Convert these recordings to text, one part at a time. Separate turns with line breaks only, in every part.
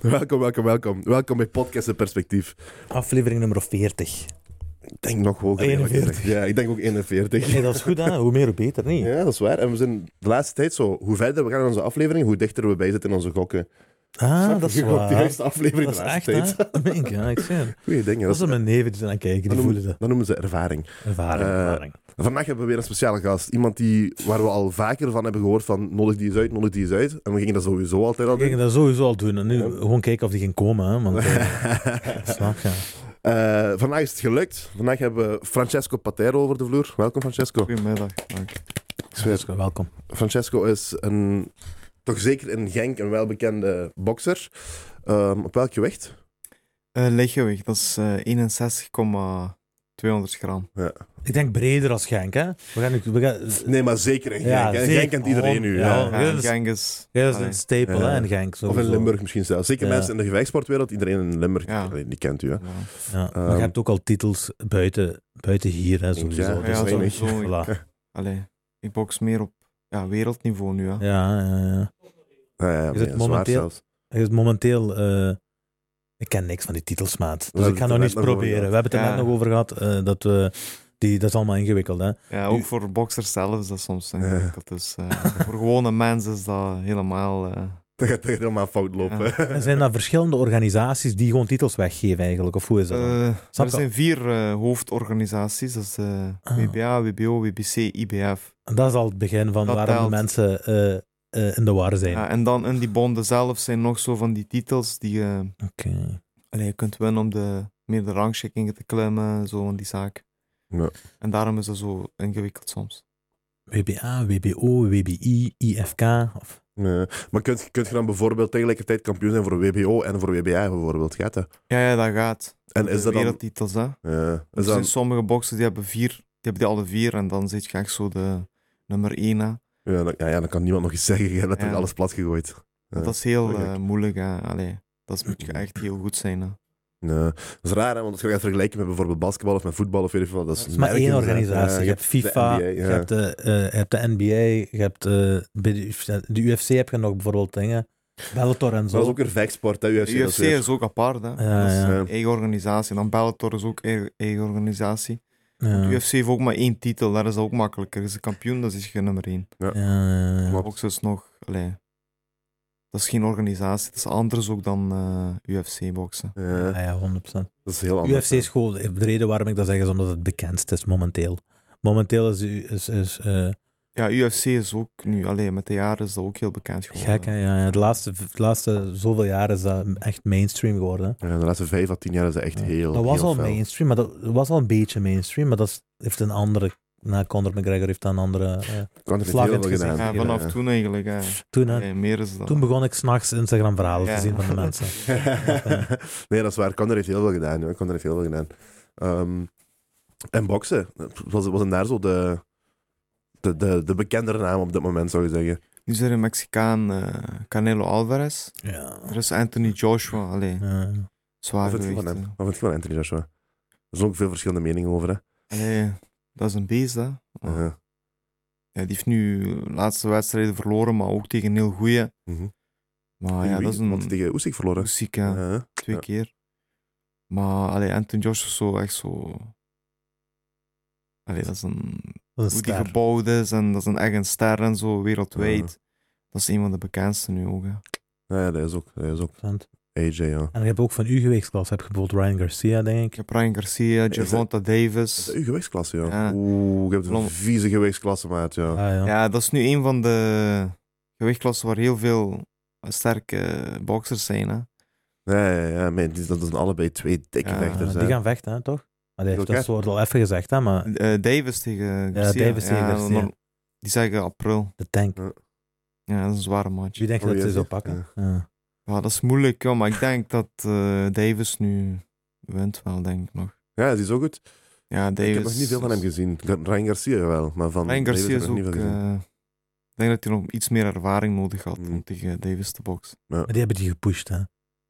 Welkom, welkom, welkom. Welkom bij Podcast in Perspectief.
Aflevering nummer 40.
Ik denk nog hoger. eerlijk
41.
gezegd. Ja, ik denk ook 41.
Nee, dat is goed, hè? Hoe meer, hoe beter, niet?
Ja, dat is waar. En we zijn de laatste tijd zo, hoe verder we gaan in onze aflevering, hoe dichter we bij zitten in onze gokken.
Ah, dat is
Je gokt
waar.
de eerste aflevering
dat is
de laatste
echt, hè? Mink, ja, ik zie het.
Goeie dingen.
Dat
Dat,
zijn mijn neven die zijn aan het kijken, die
dat
voelen
noemen,
dat.
dat noemen ze ervaring.
Ervaring,
Eh,
ervaring.
Vandaag hebben we weer een speciale gast. Iemand die, waar we al vaker van hebben gehoord van nodig die is uit, nodig die is uit. En we gingen dat sowieso altijd al
We gingen
doen.
dat sowieso al doen. En nu gewoon kijken of die ging komen, hè? Want, eh, snap je?
Eh, vandaag is het gelukt. Vandaag hebben we Francesco Patero over de vloer. Welkom Francesco.
Goedemiddag. Dank.
Ik zweer.
Dus, Welkom.
Francesco is een, toch zeker in Genk een welbekende bokser. Ehm, op welk gewicht?
Eh, lichtgewicht, dat is eh, 61,200 gram.
Ik denk breder als Genk, hè? We gaan nu... We gaan,
Nee, maar zeker in Genk.
Ja,
hè.
zeker. Oh,
Genk kent iedereen nu.
Ja.
ja.
Ja,
dat is-
Genk is...
ja, dat is
Allee.
een stapel,
Ja.
hè, in Genk.
Of in
sowieso.
Limburg misschien zelfs. Zeker
Ja.
mensen in de gevechtsportwereld, iedereen in Limburg,
Ja.
iedereen die kent u. Hè?
Ja.
Ja. Maar
Ehm.
je hebt ook al titels buiten, buiten hier, hè, sowieso.
Ja,
dus
ja,
dat-
sowieso.
voilà.
Allee, ik box meer op ja, wereldniveau nu. Hè.
Ja, ja, ja.
Ah, ja,
Is
ja,
het
zwaar
momenteel-
zelfs.
Er is momenteel. eh, ik ken niks van die titels, maat. Dus
hebben
ik ga
het
nog
er
niets
net nog over
proberen.
gehad.
We hebben het er
Ja.
net nog over gehad. eh, dat, we, die, dat is allemaal ingewikkeld, hè?
Ja,
Nu-
ook voor boxers zelf is dat soms
Ja.
ingewikkeld. Dus eh, voor gewone mensen is dat helemaal... eh,
Dat gaat echt helemaal fout lopen.
En zijn dat verschillende organisaties die gewoon titels weggeven, eigenlijk? Of hoe is dat? dan?
eh,
Snap
er
je?
zijn vier eh, hoofdorganisaties. Dat is eh,
Ah.
WBA, WBO, WBC, IBF.
En dat is al het begin van
dat
waarom de
telt.
mensen eh, eh, in de war zijn.
Ja, en dan in die bonden zelf zijn nog zo van die titels die... eh,
Oké.
Allee, je kunt winnen om de, meer de rangschikkingen te klimmen, zo in die zaak.
Ja.
En daarom is dat zo ingewikkeld soms.
WBA, WBO, WBI, IFK. Of...
Nee. Maar kunt, kunt je dan bijvoorbeeld tegelijkertijd kampioen zijn voor WBO en voor WBA bijvoorbeeld? Gaat dat?
Ja, ja dat gaat.
En is dat
de
dan...
wereldtitels, hè. Er
Ja, is
zijn
dat,
sommige boxers die hebben vier, die hebben die alle vier en dan zit je echt zo de nummer één, hè.
ja, dan, ja, ja, dan kan niemand nog iets zeggen. Je hebt natuurlijk
Ja.
alles plat gegooid. Ja,
Dat is heel
tuurlijk.
eh, moeilijk, hè. Allee, dat is- moet je echt heel goed zijn, hè.
Nee. Dat is raar, hè, want als je gaat vergelijken met bijvoorbeeld basketbal of met voetbal of weet ik veel, dat is,
Het is maar één
nergens, hè.
organisatie.
Ja,
je, hebt FIFA,
de NBA,
je,
ja.
hebt de, eh, je hebt de NBA, je hebt eh, bij de, UFC de UFC heb je nog bijvoorbeeld dingen. Bellator en zo.
Maar dat is ook weer vechtsport, hè, UFC.
De
dat is
UFC
weer-
is ook apart, hè.
Ja,
dat is
ja.
een eigen organisatie. En dan Bellator is ook eigen, eigen organisatie.
Ja.
De UFC heeft ook maar één titel, daar is dat ook makkelijker. Is de kampioen, dat is je nummer één.
Ja, ja, ja.
Klopt.
Box is nog, allee, dat is geen organisatie, het is anders ook dan eh, UFC-boksen.
Ja,
Ja, ja, 100%.
dat is heel anders.
UFC is gewoon, de reden waarom ik dat zeg is omdat het bekendst is momenteel. Momenteel is, is, is eh,
Ja, UFC is ook nu, allee, met de jaren is dat ook heel bekend geworden.
gek. Hè? Ja, ja. De, laatste, de laatste zoveel jaar is dat echt mainstream geworden. hè.
Ja, de laatste vijf à tien jaar is dat echt heel
dat was
heel
al
fel.
mainstream, maar dat was al een beetje mainstream, maar dat is- heeft een andere. Na Conor McGregor heeft dat een andere. eh,
Kan er
Slag
heel
in
veel
het
gedaan.
Ja,
gezicht.
vanaf
Ja.
toen eigenlijk. Hè.
toen, hè,
Allee, meer is dat.
eh, toen begon ik s'nachts Instagram-verhalen
Ja.
te zien van de mensen.
nee, dat is waar. Conor heeft heel veel gedaan. Hoor. Conor heeft heel veel gedaan. Ehm, en boksen. Was, was hem daar zo de, de, de, de bekendere naam op dit moment, zou je zeggen?
Nu is er een Mexicaan, eh, Canelo Alvarez.
Ja.
Er is Anthony Joshua, allee,
Ja.
zwaar
Wat vind je van hem?
gewicht.
Wat vind je van Anthony Joshua? Er zijn ook veel verschillende meningen over, hè?
Allee, dat is een beest, hè.
Uh-huh.
Ja, die heeft nu de laatste wedstrijden verloren, maar ook tegen een heel goeie.
Mhm.
Maar
Tegen
Ah ja,
wie?
dat is
Want
een
tegen Oesik verloren.
zieke...
Uh-huh.
twee
Ja.
keer. Maar allee, Anton Josh is zo echt zo. Allee, dat is een.
Dat is
Hoe die
ster.
gebouwd is en dat is een echt een ster en zo wereldwijd. Dat is een van de bekendste nu ook. Hè.
Ah Ja, ja, dat is ook. Dat is ook. AJ, ja.
En je hebt ook van uw gewichtsklas, heb je bijvoorbeeld Ryan Garcia, denk
Ik
ik.
heb Ryan Garcia,
Is het-
Gervonta
Dat is
Davis.
uw gewichtsklasse, ja.
Ja.
Oeh, je hebt een
Blom.
vieze gewichtsklasse, maat, ja.
Ah, ja.
Ja, dat is nu een van de gewichtklassen waar heel veel eh, sterke boxers zijn. Hè.
Ja, ja, ja. man, die- dat zijn allebei twee dikke
Ja,
vechters,
die
hè.
gaan vechten, hè, toch? Maar die heeft
Elkaar.
dat soort al even gezegd, hè, maar
Eh, Davis tegen Garcia.
Davis tegen Garcia.
dan- Die zeggen april.
de tank.
Ja, dat is een zware match.
Wie denk je
Hoe
dat
is
ze zou
die?
pakken? Ja.
Ja, dat is moeilijk, ja, maar ik denk dat eh, Davis nu wint wel, denk ik nog.
Ja, die is ook goed.
Ja, Davis.
Ik heb nog niet veel van hem gezien. Ga- Ryan Garcia wel, maar van
Ryan
Davis
Garcia
heb
is
ik nog
ook...
niet veel gezien.
eh, ik denk dat hij nog iets meer ervaring nodig had
Mm.
om tegen Davis te boksen.
Maar die hebben die gepusht, hè?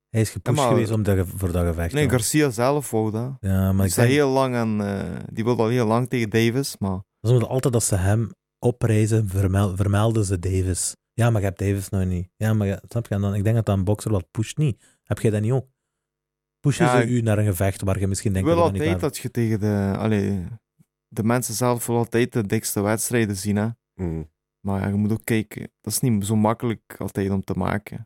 Hij is gepusht
Ja, maar-
geweest om dat ge- voor dat gevecht.
Nee,
ja.
Garcia zelf wou dat.
Ja, maar
Die,
ik
zei
denk,
heel lang aan, eh, die wilde al heel lang tegen Davis, maar...
ze moeten altijd als ze hem opreizen, vermel- nou vermelden ze Davis. Ja, maar je hebt Davis nog niet. Ja, maar je- snap je? En dan, ik denk dat dat een bokser wat pusht niet. Heb jij dat niet ook? Pushen
Ja,
ze u naar een gevecht waar je misschien
Ik
denkt
wil
dat je niet
altijd
klaar
dat je tegen de... Allee, de mensen zelf willen altijd de dikste wedstrijden zien, hè.
Mm.
Maar ja, je moet ook kijken. Dat is niet zo makkelijk altijd om te maken.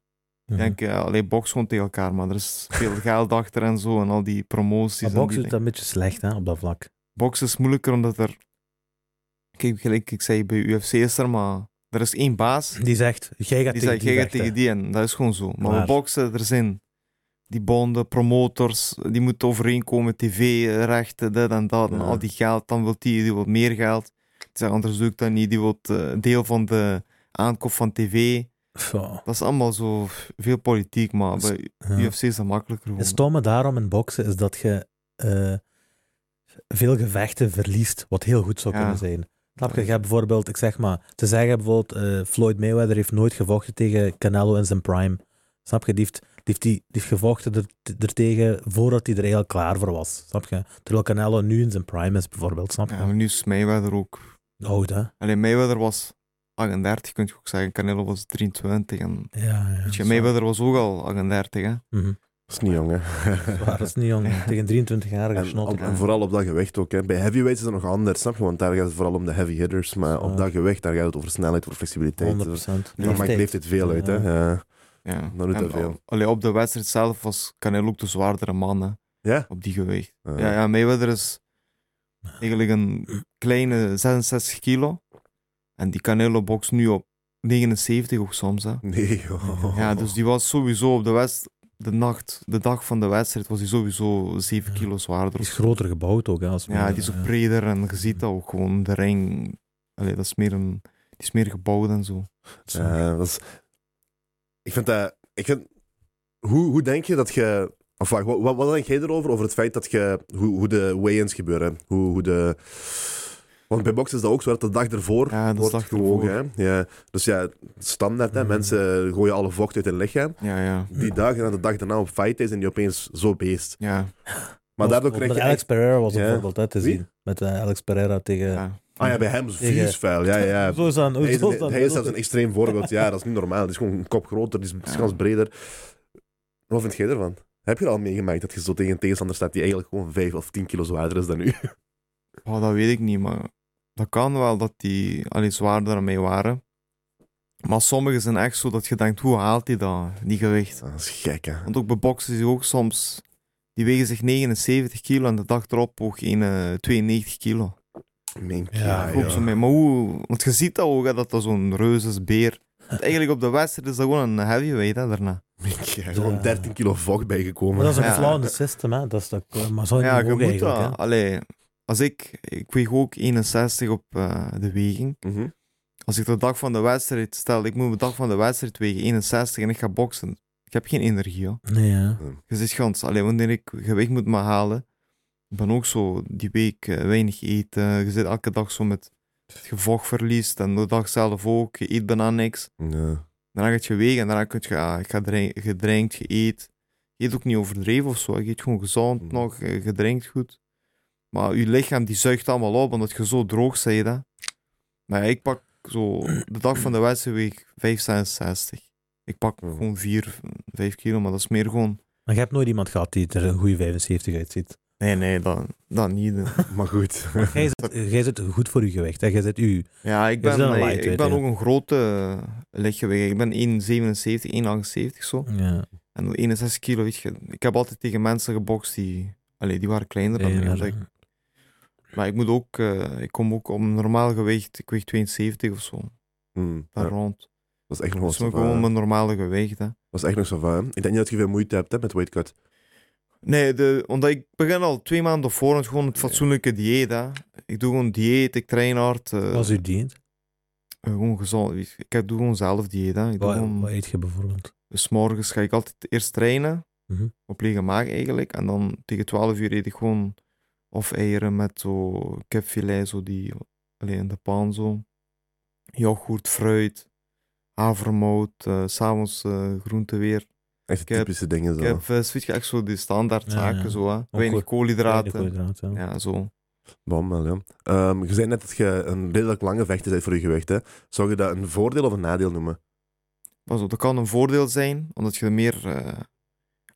bent.
Ik denk, ja, alleen box gewoon tegen elkaar, maar er is veel geld achter en zo en al die promoties.
Maar
en
box
die
doet dat een beetje slecht hè, op dat vlak.
Box is moeilijker omdat er. Kijk, gelijk ik zei bij UFC is er, maar er is één baas
Die zegt, jij gaat
die
tegen
zegt:
die
jij gaat
vechten.
tegen die en dat is gewoon zo. Maar
Waar.
bij boksen, er zijn die bonden, promotors, die moeten overeenkomen, tv-rechten, dit en dat, en
Ja.
al die geld. Dan wil die, die wil meer geld. Die zegt anders doe ik dat niet, die wil eh, deel van de aankoop van tv.
Zo,
Dat is allemaal zo veel politiek, maar
Dat is-
bij
oh, ja.
UFC is dat makkelijker. gewoon.
Het stomme daarom in boksen is dat je eh, veel gevechten verliest, wat heel goed zou
Ja.
kunnen zijn. Snap je? Je hebt bijvoorbeeld, ik zeg maar, te zeggen bijvoorbeeld, eh, Floyd Mayweather heeft nooit gevochten tegen Canelo in zijn prime. Snap je? Die heeft, die heeft, die, die heeft gevochten er, er tegen voordat hij er heel klaar voor was. Snap je? Terwijl Canelo nu in zijn prime is, bijvoorbeeld. Snap je?
Ja, maar nu is Mayweather ook.
Oud, hè?
Alleen Mayweather was 38, kun je ook zeggen. Canelo was 23. En,
Ja, ja.
weet je,
zo.
Mayweather was ook al 38, hè?
Mhm.
Dat is niet jong, hè.
Zwaar, dat is niet jong.
Ja.
Tegen 23-jarige
En, op-
snotter.
en vooral op dat gewicht ook. Hè. Bij heavyweights is het nog anders, snap je? Want daar gaat het vooral om de heavy hitters. Maar op
Ja.
dat gewicht, daar gaat het over snelheid, over
eh,
100%.
flexibiliteit. Daar maakt leeftijd veel uit, hè. Ja.
Ja.
Dat doet
En
dat veel.
al- Allee, op de wedstrijd zelf was Canelo ook de zwaardere man, hè?
Ja?
Op die gewicht.
Ja.
Ja, ja, Mayweather is eigenlijk een kleine 66 kilo. En die Canelo bokst nu op 79 ook soms, hè?
Nee, joh.
Ja, dus die was sowieso op de wedst... De nacht, de dag van de wedstrijd, was hij sowieso 7
Ja.
kilo
Die
zwaarder.
is groter gebouwd ook. Hè, als
Ja, die
eh,
is ook breder en je ziet dat ook gewoon. De ring, allee, dat is meer een, die is meer gebouwd en zo.
Ja.
Ja, Eh, dat is... Ik vind dat... Ik vind... Hoe, hoe denk je dat je... Of wacht, wat, wat, wat denk jij erover? Over het feit dat je... Hoe, hoe de weigh-ins gebeuren. Hoe, hoe de... Want bij boksen is dat ook zo dat de dag ervoor
Ja, dat is
wordt
dag
gewogen. Hè? Ja. Dus ja, standaard. Hè?
Mm.
Mensen gooien alle vocht uit hun lichaam.
Ja, ja.
Die dagen en de dag daarna op fight is en die opeens zo beest.
Ja,
Maar daardoor
Want
krijg je
Alex
echt...
Pereira was
Ja.
bijvoorbeeld hè, te
Wie?
zien. Met eh, Alex Pereira tegen...
ja.
Ah ja, bij hem is
Tegen-
vies vuil. Ja, ja.
Zo is dat.
Hij is,
zo is dat.
hij is zelfs een extreem voorbeeld. Ja, dat is niet normaal. Die is gewoon een kop groter, die is- die is
Ja.
kans breder. Wat vind jij ervan? Heb je er al meegemaakt dat je zo tegen een tegenstander staat die eigenlijk gewoon 5 of 10 kilo zwaarder is dan u?
Oh, dat weet ik niet, maar dat kan wel dat die allee, zwaarder mee waren. Maar sommigen zijn echt zo dat je denkt, hoe haalt hij dat, die gewicht?
Dat is gek, hè?
Want ook bij boksen is ook soms, die wegen zich 79 kilo en de dag erop ook een, eh, 92 kilo.
Mijn
Ja,
ja,
Ook zo mee. Maar hoe, want je ziet dat ook, hè, dat dat zo'n reus is, beer. Want eigenlijk op de wedstrijd is dat gewoon een heavyweight hè,
Oh,
daarna.
Gewoon 13 kilo vocht
Maar
bijgekomen.
dat is een
Ja.
flauwende systeem, hè. Dat is dat, maar zo
ja,
ja,
je
niet
moet
eigenlijk,
dat.
hè.
Allee, als ik, ik weeg ook 61 op eh, de weging.
Mhm.
Als ik de dag van de wedstrijd, stel ik moet de dag van de wedstrijd wegen 61 en ik ga boksen. Ik heb geen energie, hoor.
Nee, hè.
Je zit gans, alleen wanneer ik gewicht moet maar halen. Ik ben ook zo die week eh, weinig eten. Je zit elke dag zo met het gevocht verliest en de dag zelf ook. Je eet bijna niks.
Ja.
Daarna gaat je wegen en daarna kun je, ah, je, drink, je drinkt, je eet. Je eet ook niet overdreven of zo. Je eet gewoon gezond
Mm.
nog, je, je drinkt goed. Maar je lichaam die zuigt allemaal op omdat je zo droog bent. Hè. Maar ja, ik pak zo de dag van de wedstrijd weeg 5,66. Ik pak
Mm.
gewoon 4, 5 kilo, maar dat is meer gewoon.
Maar je hebt nooit iemand gehad die er een goede 75 uitziet.
Nee, nee, dat, dat niet.
Maar goed.
Jij zit, jij zit goed voor je gewicht. Hè. Jij zit u.
Ja, ik
bent een
ben, eh, ik,
lightweight,
ben
ja.
ook een grote eh, lichtgewicht. Ik ben 1,77, 1,78 zo.
Ja,
En 61 kilo, weet je. Ik heb altijd tegen mensen gebokst die... Allee, die waren kleiner dan mij.
ja,
omdat ik- maar ik moet ook... eh, ik kom ook op een normaal gewicht. Ik weeg 72 of zo.
Mm, ja.
Daar rond. Dus
Dat is echt nog
Dat is
wel eh,
maar
zo
gewoon
van.
mijn normale gewicht, hè.
Dat is echt nog zo van. Ik denk niet dat je veel moeite hebt hè, met weightcut.
Nee, de, omdat ik begin al twee maanden voor het gewoon het fatsoenlijke dieet, hè. Ik doe gewoon dieet, ik train hard. eh,
Als u dient.
eh, gewoon gezond. weet je. Ik heb- doe gewoon zelf dieet, hè. Ik doe
Wat,
gewoon-
wat eet je bijvoorbeeld?
Dus morgens ga ik altijd eerst trainen.
Mhm.
Op lege maag eigenlijk. En dan tegen 12 uur eet ik gewoon of eieren met zo kipfilet, zo die alleen in de pan zo. Yoghurt, fruit, havermout, eh, s'avonds eh groente weer.
Echt de
Ik heb-
typische dingen zo.
Kipvis, weet je, echt zo die standaard
Ja,
zaken
ja.
zo hè.
Weinig
Weinig koolhydraten.
Koolhydraten, ja.
Ja, zo.
Bom, wel, ja. Ehm, je zei net dat je een redelijk lange vechter bent voor je gewicht. Hè. Zou je dat een voordeel of een nadeel noemen?
Pas op, dat kan een voordeel zijn, omdat je er meer... eh,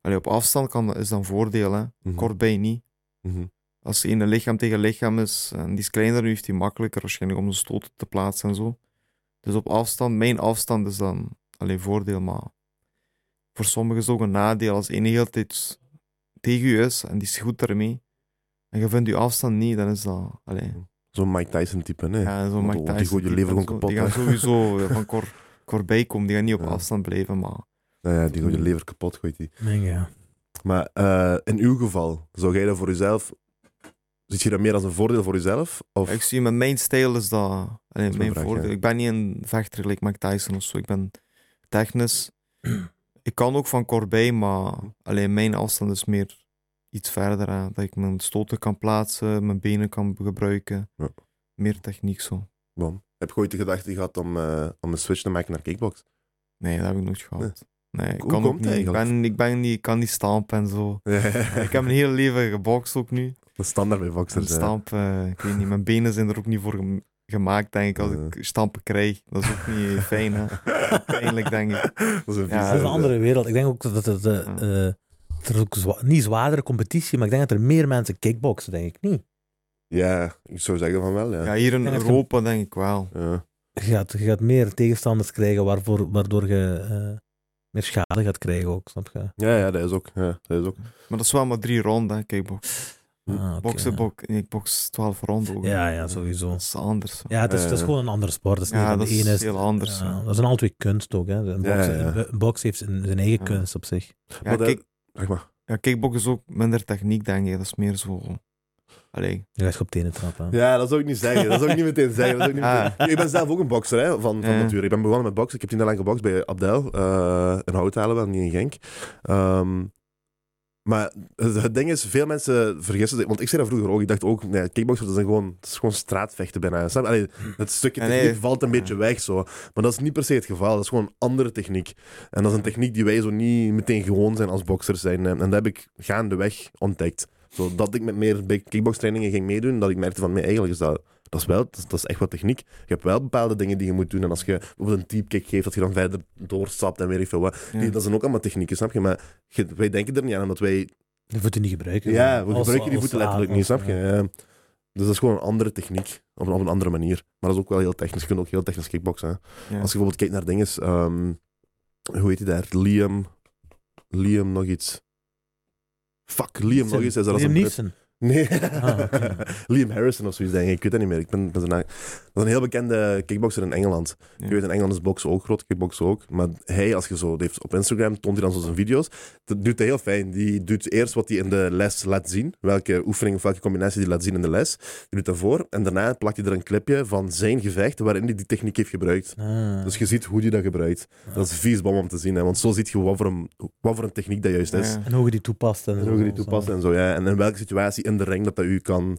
Allee, op afstand kan, dat- is dan voordeel, hè.
Mhm.
Kortbij niet.
Mhm.
Als hij een lichaam tegen lichaam is en die is kleiner, nu heeft hij makkelijker waarschijnlijk om de stoten te plaatsen en zo. Dus op afstand, mijn afstand is dan alleen voordeel, maar voor sommigen is het ook een nadeel als één de hele tijd tegen u is en die is goed daarmee. En je vindt je afstand niet, dan is dat. Allee,
Zo'n Mike Tyson type, nee.
ja, zo
want
maakt
die
dat.
gooit je lever gewoon kapot,
Die
hè.
gaan sowieso eh, van kor, kortbij komen, die gaan niet op
Ja.
afstand blijven, maar
Nou ja, die
Mm.
gooit je lever kapot, gooit die.
Denk, ja.
Maar eh, in uw geval, zou jij dat voor jezelf... Ziet je dat meer als een voordeel voor jezelf? Of...
Ik zie, mijn main stijl is dat. allee,
is
mijn
mijn vraag,
voordeel.
ja.
Ik ben niet een vechter gelijk Mike Tyson of zo. Ik ben technisch. ik kan ook van Corbij, maar alleen mijn afstand is meer iets verder. Hè, dat ik mijn stoten kan plaatsen, mijn benen kan gebruiken.
Ja.
Meer techniek zo.
Bom. Heb je ooit de gedachte gehad om, eh, om een switch te maken naar kickbox?
Nee, dat heb ik nooit gehad. Nee, ik
Hoe
kan ook
komt dat
niet. Ik,
eigenlijk?
ben, ik, ben niet, ik kan niet stampen en zo. ik heb een hele leven gebokst ook nu.
Dat is standaard bij
En
boxers. hè.
stamp, eh, ik weet niet, mijn benen zijn er ook niet voor gem- gemaakt, denk ik. Als
Ja.
ik stampen krijg, dat is ook niet fijn, hè. Eindelijk, denk ik.
Dat is een vieze,
Ja,
dat is een
hè.
andere wereld. Ik denk ook dat het... eh, eh, er is ook zwa- niet zwaardere competitie, maar ik denk dat er meer mensen kickboxen, denk ik niet.
Ja, ik zou zeggen van wel, ja.
Ja, hier in
denk dat je-
Europa denk ik wel.
Ja.
Je gaat, je gaat meer tegenstanders krijgen waarvoor, waardoor je eh, meer schade gaat krijgen ook, snap je?
Ja, ja, dat is ook. Ja, dat is ook.
Maar dat is wel maar drie ronden, hè. Kijk, bok,
Hm.
Ah, oké,
boksen,
ja.
bok, nee, ik boks twaalf ronden ook. hè.
Ja, ja, sowieso.
Dat is anders. hè.
Ja, het is, het is
Eh.
gewoon een ander sport. Het is niet
Ja,
van
dat
de ene
is
is...
heel anders. hè.
Ja, dat zijn alle twee kunst ook. Hè. Een
Ja,
boks,
ja, ja.
een boks heeft zijn, zijn eigen
Ja.
kunst op zich.
Ja,
Maar dat-
kijk,
Zeg maar.
ja, kickbok is ook minder techniek, denk ik. Dat is meer zo... Allee,
Je gaat je op tenen trappen. hè.
Ja, dat zou ik niet zeggen. Dat zou ik niet meteen zeggen. Dat zou ik, niet
Ah.
meteen- ik ben zelf ook een bokser hè, van, van
Ja.
nature. Ik ben begonnen met boksen. Ik heb tien jaar lang gebokst bij Abdel. eh in Houthalen, wel niet in Genk. Ehm, maar het, het ding is, veel mensen vergissen zich. Want ik zei dat vroeger ook. Ik dacht ook, nee, kickboksen dat is gewoon, dat is gewoon straatvechten bijna. Snap je? Allee, het stukje
Ja,
techniek
nee.
valt een beetje weg zo. Maar dat is niet per se het geval. Dat is gewoon een andere techniek. En dat is een techniek die wij zo niet meteen gewoon zijn als boksers zijn. En dat heb ik gaandeweg ontdekt. Zodat ik met meer bij kickbokstrainingen ging meedoen, dat ik merkte van, nee, eigenlijk is dat, dat, is wel, dat, is, dat is echt wat techniek. Je hebt wel bepaalde dingen die je moet doen. En als je bijvoorbeeld een deep kick geeft, dat je dan verder doorstapt en weet ik veel wat.
ja.
Die, dat zijn ook allemaal technieken, snap je? Maar je- wij denken er niet aan, omdat wij...
Je voeten niet gebruiken.
Ja, we
Als-
gebruiken die
als-
voeten letterlijk
als-
niet, snap je?
ja.
Ja. Dus dat is gewoon een andere techniek, op een, op een andere manier. Maar dat is ook wel heel technisch. Je kunt ook heel technisch kickboksen, hè.
ja.
Als je bijvoorbeeld kijkt naar dingen. ehm, hoe heet hij daar? Liam. Liam nog iets. Fuck, Liam nog iets. Is dat als
Liam
een Brit?
Neeson.
Nee.
Ah, oké.
Liam Harrison of zoiets, denk ik. Ik weet dat niet meer. Ik ben, ben zijn naam- Dat is een heel bekende kickboxer in Engeland.
Ja.
Je weet, in Engeland is boksen ook groot, kickboksen ook. Maar hij, als je zo, die heeft op Instagram toont hij dan zo zijn video's. Dat doet hij heel fijn. Die doet eerst wat hij in de les laat zien. Welke oefening of welke combinatie hij laat zien in de les. Die doet dat voor. En daarna plakt hij er een clipje van zijn gevecht waarin hij die techniek heeft gebruikt.
Ah.
Dus je ziet hoe die dat gebruikt. Dat is vies bom om te zien, hè, want zo zie je wat voor een, wat voor een techniek dat juist is.
Ja.
En hoe je die toepast. En,
En
zo,
hoe je die
zo.
toepast en zo. Ja. En in welke situatie in de ring dat dat u kan,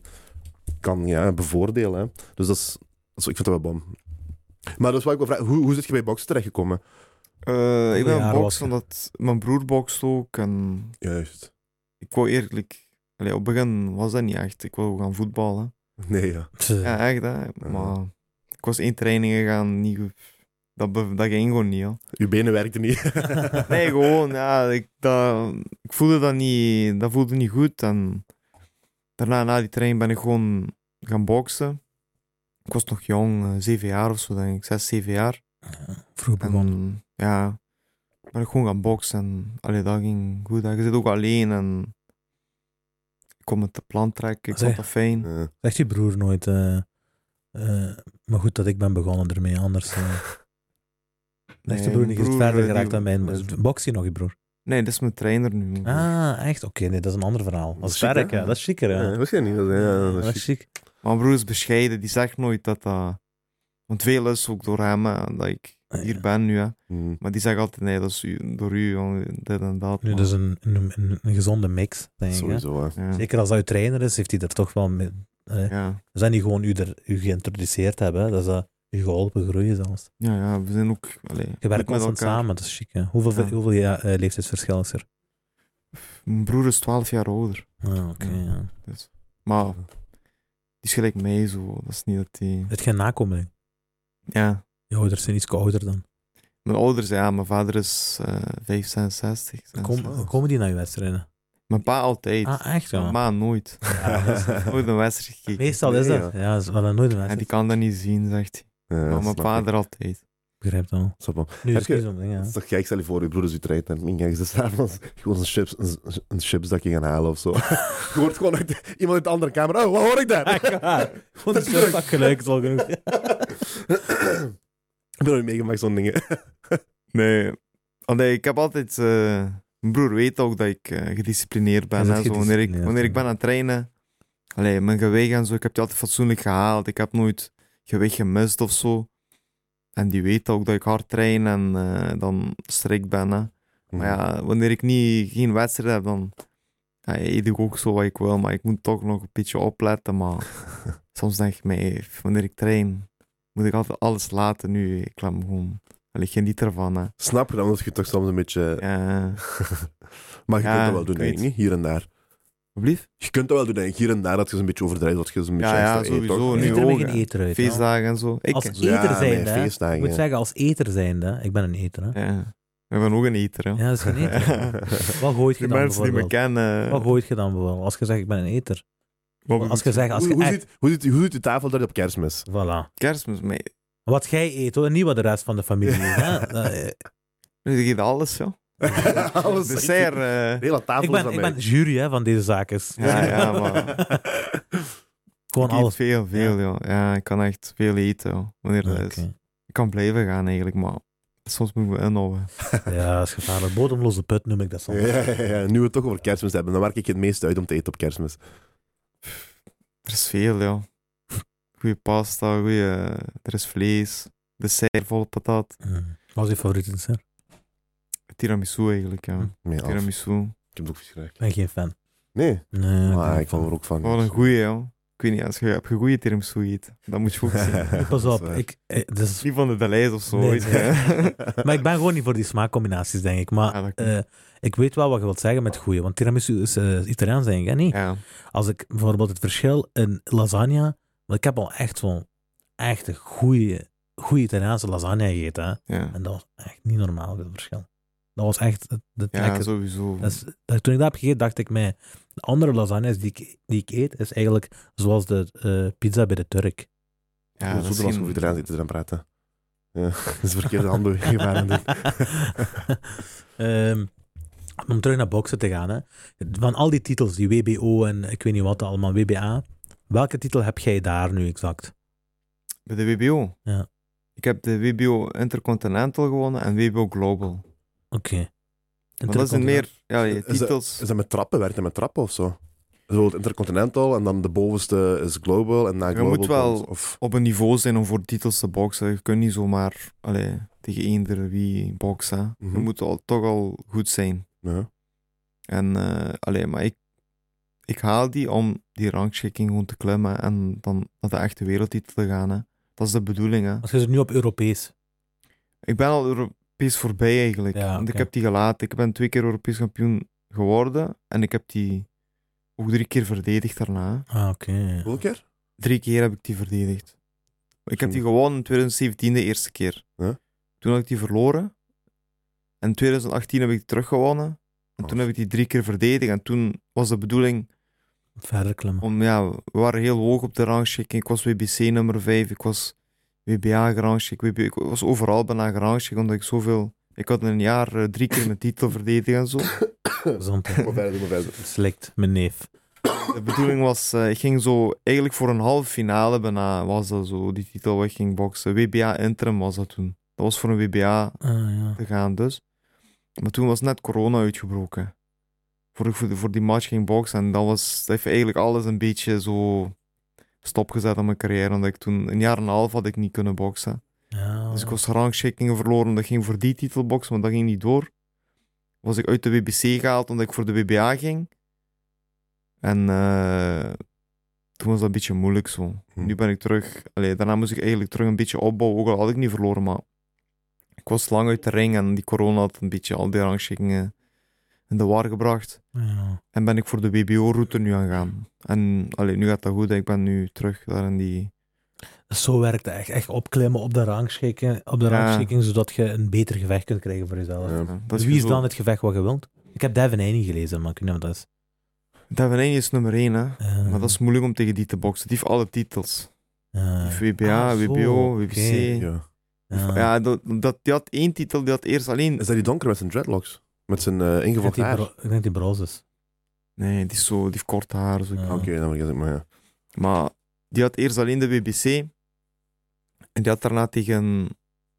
kan ja, bevoordelen. Hè. Dus dat is, dat is- ik vind dat wel bom. Maar dat is wat ik wil vragen. Hoe, hoe zit je bij boksen terechtgekomen?
Eh, ik ben
Ja,
een
was
boks,
je.
omdat mijn broer bokst ook. En
Juist.
ik wou eerlijk... Allee, op het begin was dat niet echt. Ik wou gaan voetballen.
Nee, ja.
Tch, Ja,
Ja, echt hè. Maar ik was één training gegaan, niet goed. Dat, be- dat ging gewoon niet, hoor.
Uw benen werkten niet.
Nee, gewoon, ja, ik, dat, ik voelde dat niet, dat voelde niet goed. En daarna, na die training, ben ik gewoon gaan boksen. Ik was nog jong, eh, zeven jaar of zo, denk ik. Zes, zeven jaar.
Vroeg
En
begonnen.
ja, ben ik gewoon gaan boksen. En allee, dat ging goed. hè. Je zit ook alleen en ik kon met de plan trekken. Ik
Zeg.
vond dat fijn.
Ja.
Zegt je broer nooit. eh, eh, maar goed dat ik ben begonnen ermee, anders. eh zegt je
Nee,
broer niet, je is verder
eh, die-
geraakt dan mijn. Box je nog, je broer?
Nee, dat is mijn trainer nu. mijn broer.
Ah, echt? Oké, nee, dat is een ander verhaal. Dat
Dat
is
is chic,
werk,
hè?
ja. Dat is chiquer, hè.
Ja, misschien niet. Dat is, ja, dat is chic.
chic.
Mijn broer is bescheiden, die zegt nooit dat dat... Want veel is ook door hem, hè, dat ik
Ah, ja.
hier ben nu. Hè.
Hm.
Maar die zegt altijd, nee, dat is u- door u, jongen, dit en dat.
Nu,
maar-
dat is een, een, een, een gezonde mix, denk ik. hè.
Sowieso, hè.
ja.
Zeker als dat uw trainer is, heeft hij er toch wel mee... eh,
Ja.
We zijn niet gewoon u, er, u geïntroduceerd hebben, hè. dat is dat u geholpen groeien zelfs.
Ja, ja, we zijn ook... Allee,
Je
goed
werkt constant samen, dat is chic. hè. Hoeveel,
Ja.
hoeveel ja, eh, leeftijdsverschil is er?
Mijn broer is 12 jaar ouder.
Ah, oké,
Ja.
ja.
Dus. Maar die is gelijk mij zo. Dat is niet dat die...
Het geen nakomeling.
Ja.
Je ouders zijn iets ouder dan.
Mijn ouders, ja, mijn vader is eh 5, 66.
Kom,
66.
komen die naar je wedstrijden?
Mijn pa altijd.
Ah, echt wel?
Mijn ma nooit.
Ja, dat is-
Nooit een wedstrijd gekeken.
Meestal is
Nee,
dat. Ja, dat is wel nooit een
En die
wedstrijd.
kan dat niet zien, zegt hij.
Ja,
maar mijn
snap ik.
vader altijd.
Ik begrijp dat al.
Snap wel.
Nu
Heb
is
je-
het zo'n ding, ja.
Dat is toch gek, stel je voor, je broer is je trein en min je s'avonds gewoon een, chips, een, een chipsdakje gaan halen of zo. je hoort gewoon uit, iemand uit de andere kamer, oh, wat hoor ik daar?
Gewoon een surfpak geluid is al genoeg.
ik ben nooit meegemaakt zo'n dingen.
Nee. Allee, ik heb altijd... eh, mijn broer weet ook dat ik eh, gedisciplineerd ben.
Je bent
hè, zo, wanneer ik,
gedisciplineerd,
wanneer ik
ja.
ben aan het trainen... Allee, mijn gewicht en zo, ik heb die altijd fatsoenlijk gehaald. Ik heb nooit gewicht gemist of zo. En die weet ook dat ik hard train en eh, dan strikt ben. Hè.
Mhm.
Maar ja, wanneer ik niet, geen wedstrijd heb, dan ja, eet ik ook zo wat ik wil. Maar ik moet toch nog een beetje opletten. Maar soms denk ik mij, wanneer ik train, moet ik altijd alles laten nu. Ik laat me gewoon... Allee, ik geniet ervan, hè.
Snap je dan dat je toch soms een beetje...
Ja.
Maar je
Ja,
kunt dat wel doen,
ik
denk ik,
weet.
niet? hier en daar.
Alsjeblieft.
Je kunt dat wel doen, denk ik, hier en daar, dat je een beetje overdrijft, dat je een beetje
Ja, ja,
extra eet,
sowieso,
toch?
nu
Ziet er met
ook,
geen
hè.
eter uit. hè.
Feestdagen en zo. Ik,
Als
ja.
eter
nee,
zijnde, hè. Ik
feestdagen,
moet
ja.
zeggen, als eter zijnde, ik ben een eter. Hè.
Ik ben ook een eter, hè.
Ja, dat is geen eter. Wat gooit je
Die
dan
mensen die me
bijvoorbeeld?
kennen...
Wat gooit je dan bijvoorbeeld? Als je zegt, ik ben een eter.
wat
Als je zegt, als
Hoe,
je
hoe,
echt...
ziet, hoe, ziet, hoe ziet de tafel eruit op kerstmis?
Voilà.
Kerstmis, mee.
Wat jij eet, hoor. en Niet wat de rest van de familie eet. Hè? Dat, eh,
Ik geef alles, joh.
Alles.
Dessert, eh,
De hele tafel
ik,
is
ben,
aan
ik
mij.
ben jury hè, van deze zaken.
Ja, ja, maar...
Gewoon
Ik eet
alles.
veel, veel, joh. Ja, ik kan echt veel dus. eten, joh. Wanneer dat is.
Oké.
Ik kan blijven gaan, eigenlijk, maar... Soms moet ik me inhouden.
Ja, dat is gevaarlijk. Bodemloze put noem ik dat soms.
Ja, ja, ja, ja. Nu we het toch over kerstmis hebben, dan werk ik het meest uit om te eten op kerstmis.
Er is veel, joh. Goeie pasta, goeie... eh, Er is vlees. Dessert vol patat.
Mm. Wat is je favoriete dessert?
Tiramisu, eigenlijk, ja.
Hm.
Nee, af. ik
Tiramisu.
heb het ook vies geraakt.
Ik ben geen fan.
Nee,
Nee,
maar
ben
ik hou er ook van.
Wat een goeie, joh. Ik weet niet, als je, heb je goede tiramisu eet, dan moet je ook zien.
Pas op,
Dat is waar.
ik, eh, dus,
Niet van de Daleis of zo,
Nee,
weet je.
nee. maar ik ben gewoon niet voor die smaakcombinaties, denk ik. Maar
Ja, dat kan.
eh, ik weet wel wat je wilt zeggen met goeie. Want tiramisu is eh, Italiaans, denk ik, hè? Niet?
Ja.
Als ik bijvoorbeeld het verschil in lasagne... Want ik heb al echt zo'n echte goede, goede Italiaanse lasagne gegeten, hè?
Ja.
En dat was echt niet normaal, het verschil. Dat was echt de, de
Ja,
lekker-
sowieso.
dat is- dat- toen ik dat heb gegeten, dacht ik mij... De andere lasagnes die ik, die ik eet, is eigenlijk zoals de eh, pizza bij de Turk.
ja,
Hoe zoet was
geen-
over eraan zitten te gaan praten. Ja, dat is verkeerde handbeweging waren aan het doen.
Ehm, om terug naar boksen te gaan. Hè. Van al die titels, die WBO en ik weet niet wat allemaal, WBA. Welke titel heb jij daar nu exact?
Bij de WBO?
Ja.
Ik heb de WBO Intercontinental gewonnen en WBO Global.
Oké.
Maar dat zijn meer ja,
Is-
je
is dat-
titels.
Is dat met trappen? Werkt dat met trappen of zo? Bijvoorbeeld Intercontinental en dan de bovenste is Global en na
Je
Global...
moet wel-
komt- Of,
Op een niveau zijn om voor titels te boksen. Je kunt niet zomaar allee, tegen eender wie boksen. hè.
Mhm.
Je moet al, toch al goed zijn.
ja.
En eh, allee, maar ik, ik haal die om die rangschikking gewoon te klimmen en dan naar de echte wereldtitel te gaan. Hè. Dat is de bedoeling. Hè.
Als je ze nu op Europees.
Ik ben al Europees voorbij eigenlijk.
Ja,
Want ik
oké.
heb die gelaten. Ik ben twee keer Europees kampioen geworden. En ik heb die ook drie keer verdedigd daarna.
Ah, oké.
Hoeveel keer?
Drie keer heb ik die verdedigd. Ik heb die gewonnen in 2017 de eerste keer.
Ja.
Toen had ik die verloren. En in 2018 heb ik die teruggewonnen. En toen
Oh.
heb ik die drie keer verdedigd. En toen was de bedoeling
Verder klimmen.
om... Ja, we waren heel hoog op de rangschikking. Ik was WBC nummer 5. Ik was WBA gerangschikt. WB ik was overal bijna gerangschikt. Omdat ik zoveel... Ik had in een jaar eh, drie keer mijn titel verdedigd en zo.
Gezondheid.
Doe maar verder, doe maar verder.
Slikt, mijn neef.
De bedoeling was, eh, ik ging zo eigenlijk voor een halve finale bijna, was dat zo, die titel waar ik ging boksen. WBA interim was dat toen. Dat was voor een WBA
Ah, ja.
te gaan dus. Maar toen was net corona uitgebroken. Voor ik voor, voor die match ging boksen en dat, was, dat heeft eigenlijk alles een beetje zo stopgezet aan mijn carrière. Omdat ik toen, een jaar en een half had ik niet kunnen boksen.
ja.
Ah.
Dus ik was rangschikkingen verloren. Dat ging voor die titel boksen, maar dat ging niet door. Was ik uit de WBC gehaald omdat ik voor de WBA ging. En eh, toen was dat een beetje moeilijk zo.
Hm.
Nu ben ik terug. Allee, daarna moest ik eigenlijk terug een beetje opbouwen. Ook al had ik niet verloren, maar ik was lang uit de ring en die corona had een beetje al die rangschikkingen in de war gebracht.
Ja.
En ben ik voor de WBO-route nu aan gaan. En allee, nu gaat dat goed. Ik ben nu terug daar in die
Dus zo werkt het echt. Echt opklimmen op de rangschikking, op de
Ja.
rangschikking zodat je een beter gevecht kunt krijgen voor jezelf.
Ja.
Ja, dat
Dus wie is
zo-
dan het gevecht wat je wilt? Ik heb Devin Haney gelezen, maar ik weet niet wat dat is.
Devin Haney is nummer 1, hè.
Eh,
Maar dat is moeilijk om tegen die te boksen. Die heeft alle titels.
eh,
Die heeft WBA,
ah, zo,
WBO,
oké.
WBC.
Ja.
ja.
Ja, dat, dat, die had één titel, die had eerst alleen...
Is dat die donker met zijn dreadlocks? Met zijn eh
ik, denk
ingevallen
die
haar?
bro-
Oké,
ik denk die broze is.
Nee, die, is zo, die heeft kort haar. Zo.
Ja.
Ah, dan vergeet ik maar, ja.
Maar die had eerst alleen de WBC. En die had daarna tegen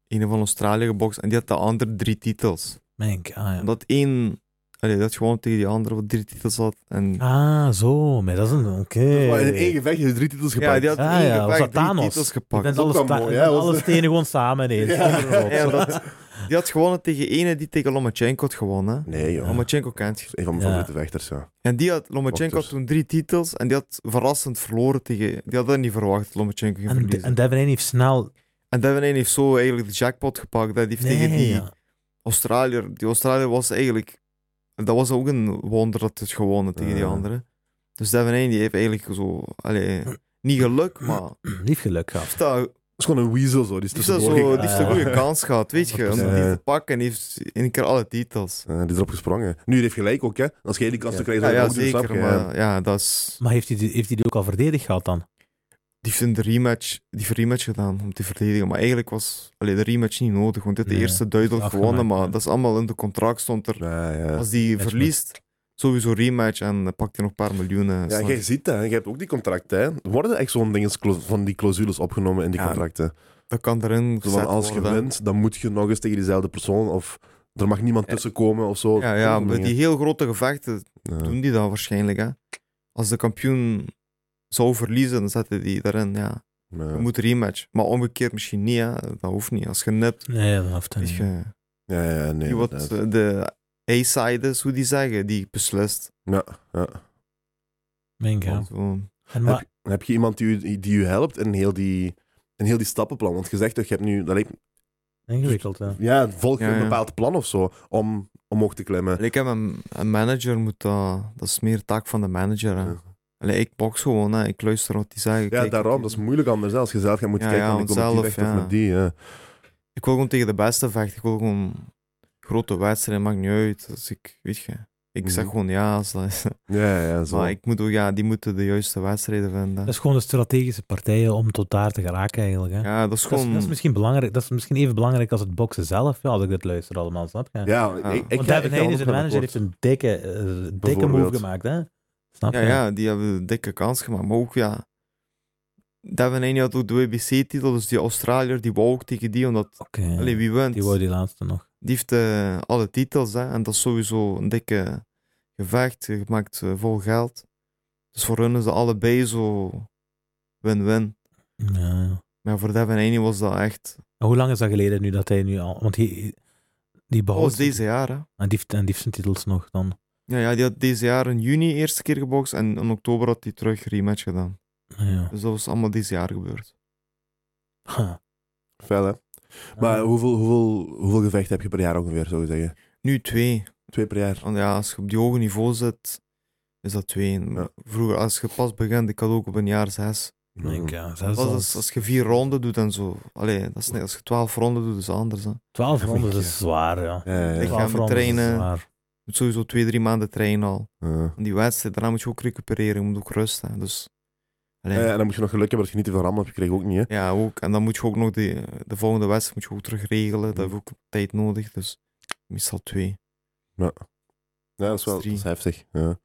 een van Australië gebokst. En die had de andere drie titels.
Mijn k- ah, ja.
Omdat één... Allee, dat gewoon tegen die andere wat drie titels had. En,
Ah, zo. Maar dat is een... Oké.
Maar in één gevecht heeft hij drie titels
ja,
gepakt.
die had
Ah,
één
ja, was
gevecht,
dat
drie
Thanos?
titels
Je
gepakt.
bent
Dat
alle,
kwam
sta-
mooi,
je
hè,
bent
was-
alle stenen gewoon samen ineens.
Ja.
Zonder
Ja,
rotzooi.
dat- Die had gewonnen tegen ene die tegen Lomachenko had gewonnen. hè.
Nee, joh.
Ja.
Dat
Lomachenko kent je.
is een van mijn
Ja.
favoriete vechters, ja.
En die had, Lomachenko had
Wachters.
toen drie titels en die had verrassend verloren tegen... Die had dat niet verwacht, dat Lomachenko ging
en,
verliezen.
en
En,
Devin Haney heeft snel...
Devin Haney heeft zo eigenlijk de jackpot gepakt. Dat heeft tegen
Nee,
die
ja.
Australiër... Die Australiër was eigenlijk... Dat was ook een wonder dat het gewonnen tegen die
Ja.
andere. Dus Devin Haney die heeft eigenlijk zo... Allee, niet geluk, maar...
Lief geluk gehad.
Heeft dat,
Dat is gewoon een weasel, zo. Die is
heeft dat zo,
tussendoor gegaan.
die heeft een
Ja.
goede kans gehad, weet je. Om die
100%.
te pakken en heeft in een keer alle titels.
Eh, die is erop gesprongen. Nu, die heeft gelijk ook, hè. Als jij die kans te krijgen,
Ja, Ah,
zou je
ja
ook doen, snap
zeker.
je?
Maar ja, dat is...
Maar heeft hij die, heeft hij die ook al verdedigd gehad dan?
die heeft een rematch, die heeft een rematch gedaan om te verdedigen. Maar eigenlijk was allee, de rematch niet nodig. Want dit de
Nee,
eerste duidelijk
is
gewonnen.
afgemaakt,
Maar
ja.
dat is allemaal in de contract stond er.
Ah, Ja, ja.
Als die
Match
verliest, sowieso rematch en eh, pakt hij nog een paar miljoenen.
Ja,
snap
jij
je?
ziet dat. hè. Jij hebt ook die contracten. Hè. Worden echt zo'n dingen van die clausules opgenomen in die
Ja.
contracten?
dat kan erin
Zo van,
gezet
als je
worden.
wint, dan moet je nog eens tegen diezelfde persoon. Of er mag niemand
Ja.
tussenkomen of zo.
Ja, ja, bij
maar
die heel grote gevechten doen die dat waarschijnlijk. Hè. Als de kampioen zou verliezen, dan zetten die daarin. Ja. Je moet rematch. Maar omgekeerd misschien niet. Hè. Dat hoeft niet. Als je nipt,
Nee, dat hoeft hij
weet
niet.
je,
Ja, ja, ja, nee.
die wat
inderdaad.
eh, de A-side is, hoe die zeggen, die beslist.
Ja,
eh,
ja.
Mink, ja.
Want, eh,
En maar,
Heb, heb je iemand die u, die u helpt in heel die, in heel die stappenplan? Want je zegt dat je hebt nu... Dat lijkt,
ingewikkeld, hè.
ja, volg je
Ja,
een
ja.
bepaald plan of zo om omhoog te klimmen?
Allee, Ik heb een, een manager, moet dat, dat is meer taak van de manager. Hè.
Ja.
Allee, ik box gewoon, hè. ik luister wat die zeggen.
Ja,
kijk,
daarom.
ik-
Dat is moeilijk anders. hè. Als je zelf gaat moeten
Ja,
kijken,
ja,
van ik kom met die
onszelf,
vechten of
ja.
met die. Ja.
Ik wil gewoon tegen de beste vechten. Ik wil gewoon grote wedstrijden, maakt niet uit. Dus ik, weet je, ik zeg
Mhm.
gewoon ja. Als dat is.
Ja, ja, zo.
Maar ik moet ook, ja, die moeten de juiste wedstrijden vinden.
Dat is gewoon de strategische partijen om tot daar te geraken, eigenlijk. Hè.
ja, dat is
Dat, is,
gewoon...
dat is misschien belangrijk. Dat is misschien even belangrijk als het boksen zelf, ja, als ik dit luister allemaal, snap je?
Ja,
Ja.
ik, ik
Want
ga-
Devin
ik ga
Haney,
ook
zijn
naar
manager,
akkoord.
heeft een dikke, eh, dikke move
Bijvoorbeeld.
gemaakt, hè. Snap je?
ja, ja, die hebben een dikke kans gemaakt. Maar ook, ja... Devin Haney had ook de WBC-titel, dus die Australiër, die wou ook tegen die, omdat...
Oké,
Allee, wie wint?
die wou die laatste nog.
Die heeft eh, alle titels hè, en dat is sowieso een dikke gevecht. Je maakt eh, vol geld. Dus voor hun is dat allebei zo win-win.
Ja.
Maar voor Devin Haney was dat echt.
En hoe lang is dat geleden nu dat hij nu al... Want hij, die
Dat
behoudt...
was Oh, deze jaar. Hè?
En die, heeft- en die heeft zijn titels nog dan.
Ja, ja, die had deze jaar in juni eerste keer gebokst en in oktober had hij terug rematch gedaan.
Ja.
Dus dat was allemaal deze jaar gebeurd.
Ha.
Fel, hè?
Ah.
Maar hoeveel, hoeveel, hoeveel gevechten heb je per jaar ongeveer, zou je zeggen?
Nu twee.
Twee per jaar.
Want ja, als je op die hoge niveau zit, is dat twee. En
Ja.
Vroeger, als je pas begint, ik had ook op een jaar zes.
Ik
Hmm.
denk, ja,
Dat
zelfs
is als, als je vier ronden doet en zo. Allee, dat is niet, als je twaalf ronden doet, is dat anders. Hè.
Twaalf rondes
Ja.
is zwaar, ja.
Ja, ja,
eh, Ik
ja.
ga
Twaalf
me
rondes is
trainen.
zwaar.
moet sowieso twee, drie maanden trainen al.
Ja.
En die wedstrijd, daarna moet je ook recupereren, je moet ook rusten. Dus, allee,
Ja, en dan moet je nog geluk hebben dat je niet te veel rammel hebt gekregen, ook niet, hè?
ja, ook. En dan moet je ook nog die, de volgende wedstrijd moet je ook terug regelen.
Ja.
Dat heeft ook tijd nodig, dus meestal twee.
Ja, dat is wel dat
Drie.
is heftig. Ja.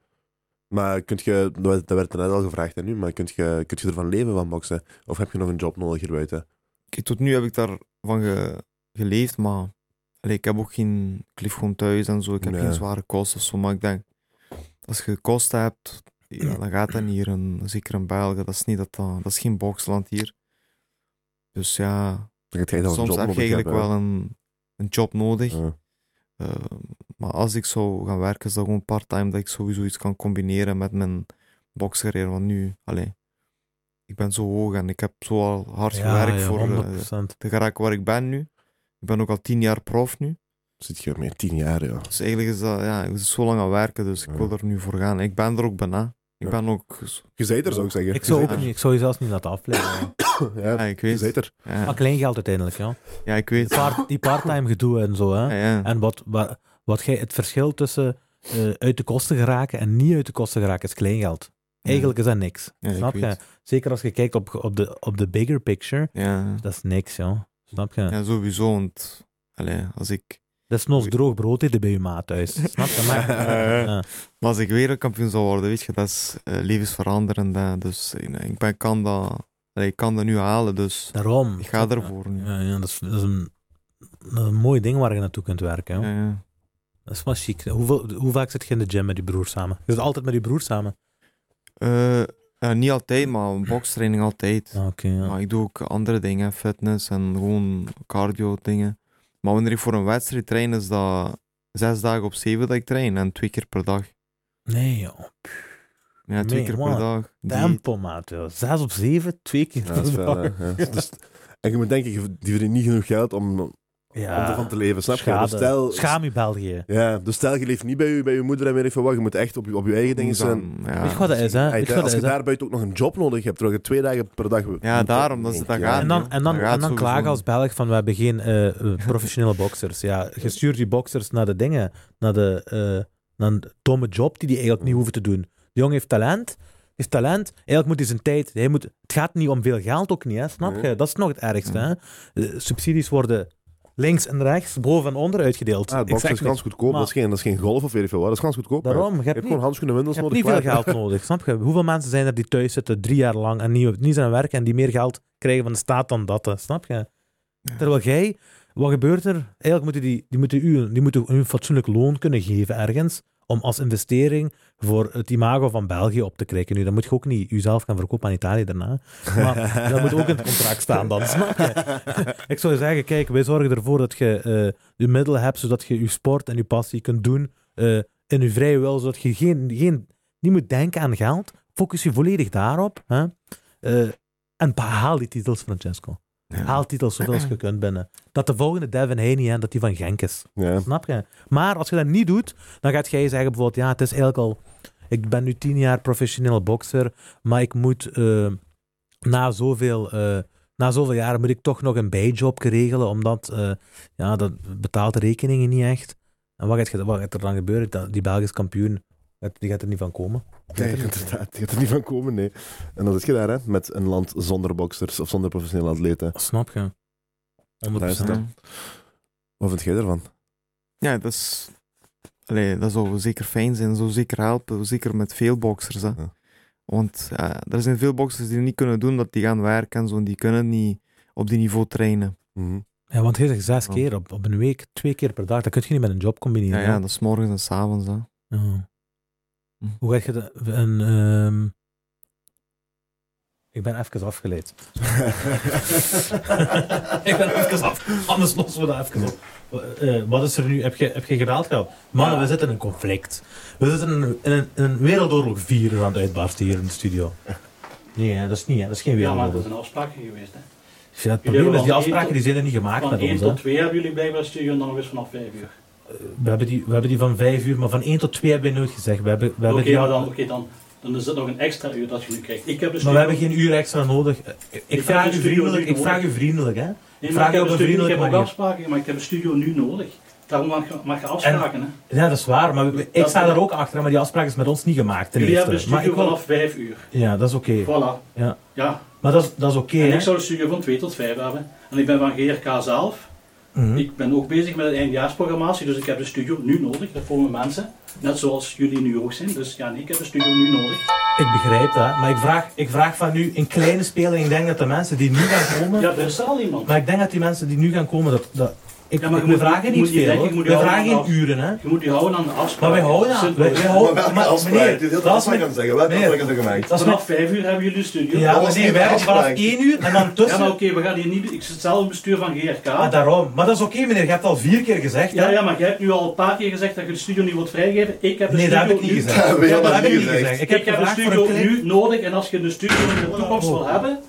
Maar kunt je, dat werd- dat werd er net al gevraagd hè, nu, maar kunt je, kunt je ervan leven van boksen? Of heb je nog een job nodig hierbuiten?
Kijk, tot nu heb ik daarvan ge- geleefd, maar allee, ik heb ook geen... Ik leef gewoon thuis en zo, ik heb
Nee.
geen zware kosten of zo, maar ik denk, als je kosten hebt, ja, dan gaat dat niet hier, in, zeker in België, dat is, niet dat, dat, dat is geen boksland hier. Dus ja,
Dan gaat jij dan een
soms
job
heb je
nodig
eigenlijk
hebben,
wel een, een job nodig.
hè. Ja.
Eh, maar als ik zou gaan werken, is dat gewoon part-time dat ik sowieso iets kan combineren met mijn bokscarrière. Want nu, allee, ik ben zo hoog en ik heb zo al hard gewerkt voor eh,
100%.
te geraken waar ik ben nu. Ik ben ook al tien jaar prof nu.
Zit je meer tien jaar, ja.
Dus eigenlijk is dat, ja, ik ben zo lang aan werken, dus ik
Ja.
wil er nu voor gaan. Ik ben er ook bijna. Ik
Ja.
ben ook... zo-
Je zei er, zou ik zeggen.
Ik zou,
Je
ook
zei
niet, ik zou je zelfs niet laten afleiden.
er. Ja,
Ja, ik
je
weet.
zei er.
Maar
Ja,
klein geld uiteindelijk, ja.
ja, ik weet.
Part- die part-time gedoe en zo, hè.
Ja, ja.
En wat, wat, wat jij, het verschil tussen eh, uit de kosten geraken en niet uit de kosten geraken is kleingeld. Eigenlijk is dat niks.
Ja, ik
Snap je?
weet.
Zeker als je kijkt op, op, de, op de bigger picture,
Ja.
dat is niks, ja. Snap je?
ja, sowieso. Want allee, als, ik,
Dat is nog droog brood eten bij je maat thuis. Snap je? Maar, eh, ja.
maar als ik wereldkampioen zou worden, weet je, dat is eh, levensveranderend. hè. Dus eh, ik, ben, kan dat, allee, ik kan dat nu halen, dus
Daarom.
ik ga ervoor. nu.
Ja, ja, dat, is, dat, is een, dat is een mooi ding waar je naartoe kunt werken. Ja.
Ja, ja.
Dat is wel chic. Hoeveel, hoe vaak zit je in de gym met je broer samen? Je zit altijd met je broer samen.
Eh, eh, niet altijd, maar bokstraining altijd.
Ah, Oké, ja.
Maar ik doe ook andere dingen, fitness en gewoon cardio dingen. Maar wanneer ik voor een wedstrijd train, is dat zes dagen op zeven dat ik train en twee keer per dag.
Nee, joh.
Ja, twee
Nee,
keer
man.
per dag. Die-
Tempo, maat. joh. Zes op zeven, twee keer
Ja,
per
dat is wel,
dag.
hè, ja. Dus- en je moet denken, je- die verdienen niet genoeg geld om, om ervan te leven, snap je?
Schade.
Dus stel,
Schaam je België.
Moeizaam,
zijn.
Ja.
Weet je wat dat is, hè?
Hey,
Weet je wat
als
dat
je
is, hè?
daar buiten ook nog een job nodig hebt, terwijl je twee dagen per dag...
Ja, daarom, dat is het, dat
Ja.
gaat.
En
joh.
dan, en dan,
Dat gaat
en dan
sowieso
klagen
niet.
als Belg van we hebben geen eh, eh, professionele boxers. Ja, je stuurt die boxers naar de dingen, naar, de, eh, naar een domme job die die eigenlijk niet hoeven te doen. De jongen heeft talent, heeft talent. Eigenlijk moet hij zijn tijd. Hij moet, het gaat niet om veel geld ook niet, hè, snap
Nee. Mm.
je? Dat is nog het ergste. Hè? Eh, subsidies worden links en rechts, boven en onder uitgedeeld.
Ah, het
Ik zeg
boksen is
niks.
gans goedkoop.
Maar-
Dat, is geen, dat is geen golf of weet ik veel wat. Dat is gans goedkoop. hè.
Daarom, je
Je
hebt
hebt
niet,
gewoon handschoenen en
je
windels
hebt
nodig.
niet veel
klaar.
geld nodig, snap je? Hoeveel mensen zijn er die thuis zitten drie jaar lang en niet, niet zijn aan werk en die meer geld krijgen van de staat dan dat, hè, snap je? Terwijl jij, wat gebeurt er? Eigenlijk moeten die, die moeten u, die moeten u een fatsoenlijk loon kunnen geven ergens om als investering voor het imago van België op te krijgen. Nu, dan moet je ook niet jezelf gaan verkopen aan Italië daarna. Maar dat moet ook in het contract staan dan, snap je? Ik zou zeggen, kijk, wij zorgen ervoor dat je eh, je middelen hebt zodat je je sport en je passie kunt doen eh, in je vrije wil, zodat je geen, geen, niet moet denken aan geld. Focus je volledig daarop. Hè? Eh, en behaal die titels, Francesco.
Ja.
Haal titels zoveel als je kunt binnen. Dat de volgende Devin Haney, hè, dat die van Genk is.
Ja.
Snap je? Maar als je dat niet doet, dan gaat jij zeggen bijvoorbeeld, ja, het is eigenlijk al... Ik ben nu tien jaar professioneel bokser, maar ik moet eh, na, zoveel, eh, na zoveel jaren moet ik toch nog een bijjob regelen, omdat eh, ja, dat betaalt de rekeningen niet echt. En wat gaat, ge- wat gaat er dan gebeuren? Dat- Die Belgisch kampioen, dat- die gaat er niet van komen.
Nee, inderdaad. Je gaat er niet van komen, nee. En dat is je daar, hè. Met een land zonder boxers of zonder professionele atleten.
Snap je? 100%.
Daar is het, hè.
Ja.
Wat vind jij ervan?
Ja, dat is... Allee, dat zou zeker fijn zijn, dat zou zeker helpen, zeker met veel boxers. Hè.
Ja.
Want ja, er zijn veel boxers die het niet kunnen doen, dat die gaan werken en zo, en die kunnen niet op die niveau trainen.
Mhm.
Ja, want je zegt zes
Ja.
keer op, op een week, twee keer per dag, dat kun je niet met een job
Ja,
combineren.
ja,
hè?
dat is morgens en s avonds. Hè.
Ja.
Hm.
Hoe gaat je dat? Een, ehm, Ik ben even afgeleid. ik ben even af. Anders lossen we dat even op. Eh, eh, wat is er nu? Heb je, heb je gedaald gehad? Mannen, we zitten in een conflict. We zitten in een, in een, in een wereldoorlog 4 aan het uitbarsten hier in de studio. Nee, hè, dat is niet. Hè. Dat is geen
Ja, maar dat
wereldoorlog.
is een afspraak geweest. Hè.
Ja, het
Jullie
probleem is,
hebben
die
van
afspraken
één
die zijn er niet gemaakt
Van
met
1
ons. Hè.
tot 2 hebben jullie blijkbaar studio en dan weer vanaf 5 uur.
We, hebben die, we hebben die van 5 uur, maar van 1 tot 2 hebben we nooit gezegd. We hebben, we
Oké,
hebben die
maar dan, oké, dan, dan is het nog een extra uur dat je nu krijgt. Ik heb dus
Maar we hebben geen uur extra nodig. Eh, Ik,
Ik
vraag
heb
u
een studio
vriendelijk, ik
nodig.
vraag u vriendelijk, hè.
nee,
vraag
maar ik heb,
op
een
een
studio, ik heb
vriendelijke
ook
manier.
afspraken, maar ik heb een studio nu nodig. Daarom mag je, mag je afspraken. Hè.
Ja, dat is waar, maar we- ik
Dat-
sta daar ook achter, maar die afspraak is met ons niet gemaakt. Ten
Jullie
eerste.
hebben een
maar
studio
ik wil-
vanaf 5 uur.
Ja, dat is oké.
Voilà.
Ja.
Ja.
Maar dat is, dat is oké,
En
hè.
ik zou een studio van 2 tot 5 hebben. En ik ben van GRK zelf.
Mhm.
Ik ben ook bezig met de eindjaarsprogrammatie, dus ik heb de studio nu nodig. Dat voor mijn mensen. Net zoals jullie nu ook zijn. Dus ja, nee, ik heb de studio nu nodig.
Ik begrijp dat, maar ik vraag, ik vraag van u een kleine speler. Ik denk dat de mensen die nu gaan komen...
Ja, er is al iemand.
Maar ik denk dat die mensen die nu gaan komen, dat... dat ik,
Ja, maar je
we
moet-
vragen
je
niet
moet niet
veel,
denken,
hoor.
je moet
We
je allemaal
vragen geen
af-
uren, hè.
Je moet je houden aan de afspraak.
Maar wij houden aan... Wij, wij houden, Oh, maar, meneer, dat is mijn- meneer,
gemaakt?
Dat is
Vanaf
nog...
vijf uur hebben jullie de studio.
Ja,
was
maar nee,
niet
wij hebben vanaf
afspraak.
1 uur en dan
Ja,
tussen...
maar oké, we gaan hier niet... Ik zit zelf in het bestuur van GRK.
Ah, daarom. Maar dat is oké, meneer. Je hebt al vier keer gezegd.
ja,
hè?
ja, maar jij hebt nu al een paar keer gezegd dat je de studio niet wilt vrijgeven. Ik heb de
Nee, dat
studio
heb ik niet
nu...
gezegd.
hebben
Ja, dat
dat
heb ik
niet
niet
gezegd.
gezegd. Ik heb
Ik, heb de
gevraagd voor
studio
een Oh. klein...
nu nodig en als je de studio in de toekomst wil hebben,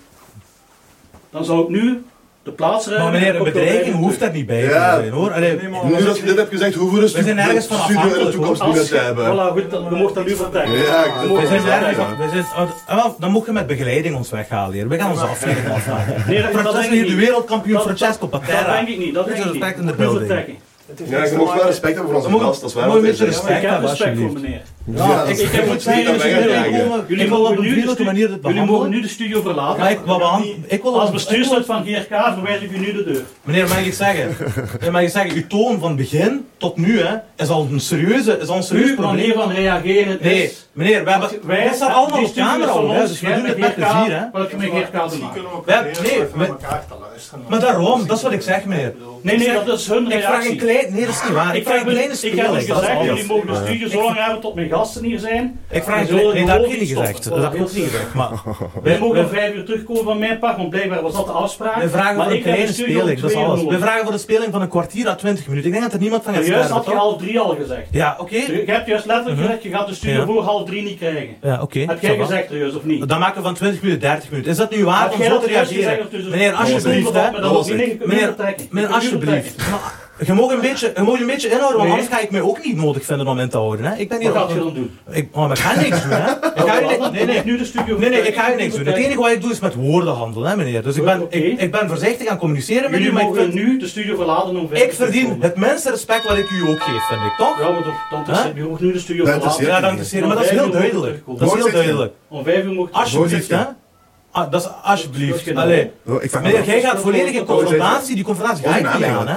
dan zou ik nu de plaatsruimte.
Maar meneer, een bedreiging hoeft daar niet bij te
Ja.
Oh, zijn, hoor. Allee,
Nu dat je dit hebt gezegd, hoeven we
We zijn ergens van
een studio in de
afhankelijk,
toekomst niet
Als
meer te
je,
hebben.
voilà, goed, dan- je mocht dat nu vertrekken.
Ja,
Je
ik
mocht
we zijn
dat nu
ergens
vertrekken.
van... We zijn, ah, wel, dan mocht je met begeleiding ons weghalen hier. We gaan onze aflevering afmaken.
Nee, dat- dat
Francesco
denk ik
hier, de
niet.
wereldkampioen
Dat-
Francesco
Dat
Patera.
denk ik niet, dat
Beetje
denk ik niet.
respect in de
Nu
building.
vertrekken.
Ja, je mag wel respect hebben voor
We
onze
mogen-
gast, dat is waar.
we mogen
wat hij
mensen
zegt.
Ik heb
hebben,
respect voor
alsjeblieft.
meneer.
Ja, dat
ik,
is-
ik heb
dat
het
is
zeggen,
niet
jullie
dat
zijn
wij gaan
binnengekomen.
Jullie
Ik wil op
mogen
een
nu de
vriendelijke
stu-
manier dit
Jullie mogen
behandelen.
nu de studio verlaten.
Maar ik, wat we aan- ik wil
Als
op- ik wil-
bestuurslid van GRK verwijs ik u nu de deur.
Meneer, mag ik zeggen? mag ik zeggen, uw toon van begin tot nu hè, is al een serieuze, is al een serieus
Nu
probleem.
manier van reageren
Nee,
is...
meneer, we hebben, wij staan allemaal op camera, hoor, hè, dus we doen het met plezier. Hè.
Welke met GRK te maken.
we ook
We hebben-
proberen
nee,
even
we-
naar elkaar te luisteren.
Maar daarom, dat is wat ik zeg, meneer.
Nee, nee, dat is
Ik
hun
vraag
reactie.
een klein... Nee, dat is niet waar. Ik vraag een
heb-
kleine
Ik heb
speellijst,
het
dat is
gezegd,
alles.
jullie mogen de studio zo lang hebben tot mijn gasten hier zijn.
Ik vraag een
Jullie
klein... Nee, dat heb
mogen
je niet
stoppen.
gezegd. Dat heb je ook niet gezegd, maar...
Wij mogen om
We,
vijf uur terugkomen van mijn part, want blijkbaar was dat de afspraak.
we vragen
Maar
voor een
ik heb
kleine
de studio om
speling, dat is
twee uur
alles. We
nodig.
vragen voor een speling van een kwartier à twintig minuten. Ik denk dat er niemand van gaat
Juist had
sterven,
je
toch?
half drie al gezegd.
Ja, oké.
Je hebt juist letterlijk gezegd, je gaat de studio
Uh-huh. Ja.
voor half drie niet krijgen.
Ja, oké.
Heb jij
ça va.
gezegd, juist of niet?
Dan maken we van 20 minuten 30 minuten. Is dat nu waar
Heb
om
jij
zo
dat
te
juist gezegd
reageren?
of tussen-
Meneer, alsjeblieft,
Dat
hè.
was het. Nee, je kunt
Meneer,
niet vertrekken.
meneer,
Je kunt niet
alsjeblieft.
vertrekken.
Je mag een beetje, je mag een beetje inhouden, want
Nee.
anders ga ik mij ook niet nodig vinden om in te houden. Hè. Ik ben hier...
Wat gaat je dan doen?
Ik, oh, maar ik ga niks doen, hè. Ik ga hier ni- nee, nee.
Nu de studio
Nee, nee, ik ga hier niks doen. Het enige wat ik doe is met woorden handelen, hè, meneer. Dus ik ben,
Oké.
ik, ik ben voorzichtig aan communiceren met u,
Jullie
maar ik,
mogen
vind,
nu de studio verlaten om vijf
ik
uur terug te
verdien
komen.
het minste respect wat ik u ook geef, vind ik, toch?
Ja, maar dat- dan is
Huh?
je mogen nu de studio
Dat
verlaten.
interesseert
Ja, dank je zeer. Maar dat is heel duidelijk. Dat is heel duidelijk.
Om vijf uur mocht
Alsjeblieft, hè. Ah, dat is alsjeblieft. Allee.
Oh, ik vraag me
Meneer,
af.
jij gaat volledig in confrontatie. Die confrontatie ga ik niet
Onnaam,
aan, hè?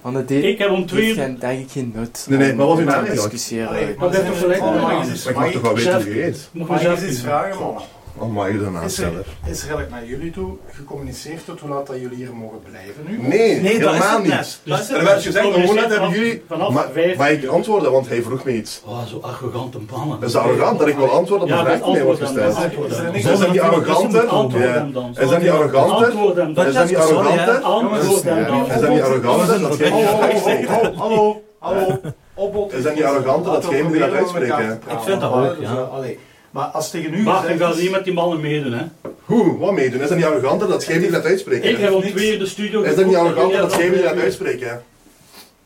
Want het deed
Ik heb om twee
heeft
uur...
geen, denk ik geen nut
Nee, nee,
om
maar wat is
te
uw naam eigenlijk?
discussiëren.
Maar
dat heeft
is-
toch gelijk
oh,
allemaal.
mag ik eens-
Maar ik mag toch wel weten wie je eet?
Moet
mag ik
mezelf
eens iets
zien.
vragen, mannen?
Oh, mag je daarna
Is er,
stellen?
is er eigenlijk naar jullie toe gecommuniceerd tot hoe laat dat jullie hier mogen blijven nu?
Nee,
Nee, dat is
helemaal
het
niet.
net. Dat is
Er
het
werd gezegd, hoe net hebben
Vanaf-
jullie...
vanaf
Maar-
vijf
Maar ik
uur.
antwoordde, want hij vroeg me iets.
Oh, zo arrogante mannen.
Dat is arrogant dat ik wil antwoorden op
Ja,
een
dat
vraag die mij wordt
antwoord dan.
gesteld.
Is er niks-
Is dat niet
Antwoord
arroganter?
Antwoord
Ja.
hem dan.
Is dat niet arroganter?
Antwoord hem dan.
Is dat niet
Sorry, hè.
arroganter?
Antwoord hem dan.
Is dat niet arroganter? Dat jij
Oh,
Hallo,
die vraag
hallo,
stelt?
hallo, hallo, hallo, opbod. dus
Is dat niet arrogant dat
Laten we
jij moet
proberen
dat
om elkaar
uitspreken?
te praten.
Ik vind dat ook,
Dus,
ja.
eh, allee. Maar als tegen u
Wacht, ik
gezegd
ga
is-
niet met die mannen meedoen, hè.
Hoe? Wat meedoen? Is dat niet arroganter dat jij die laat
Ik
uitspreken?
heb om twee uur de studio...
Is dat niet arroganter
Ja,
dat jij die laat
twee uur.
uitspreken?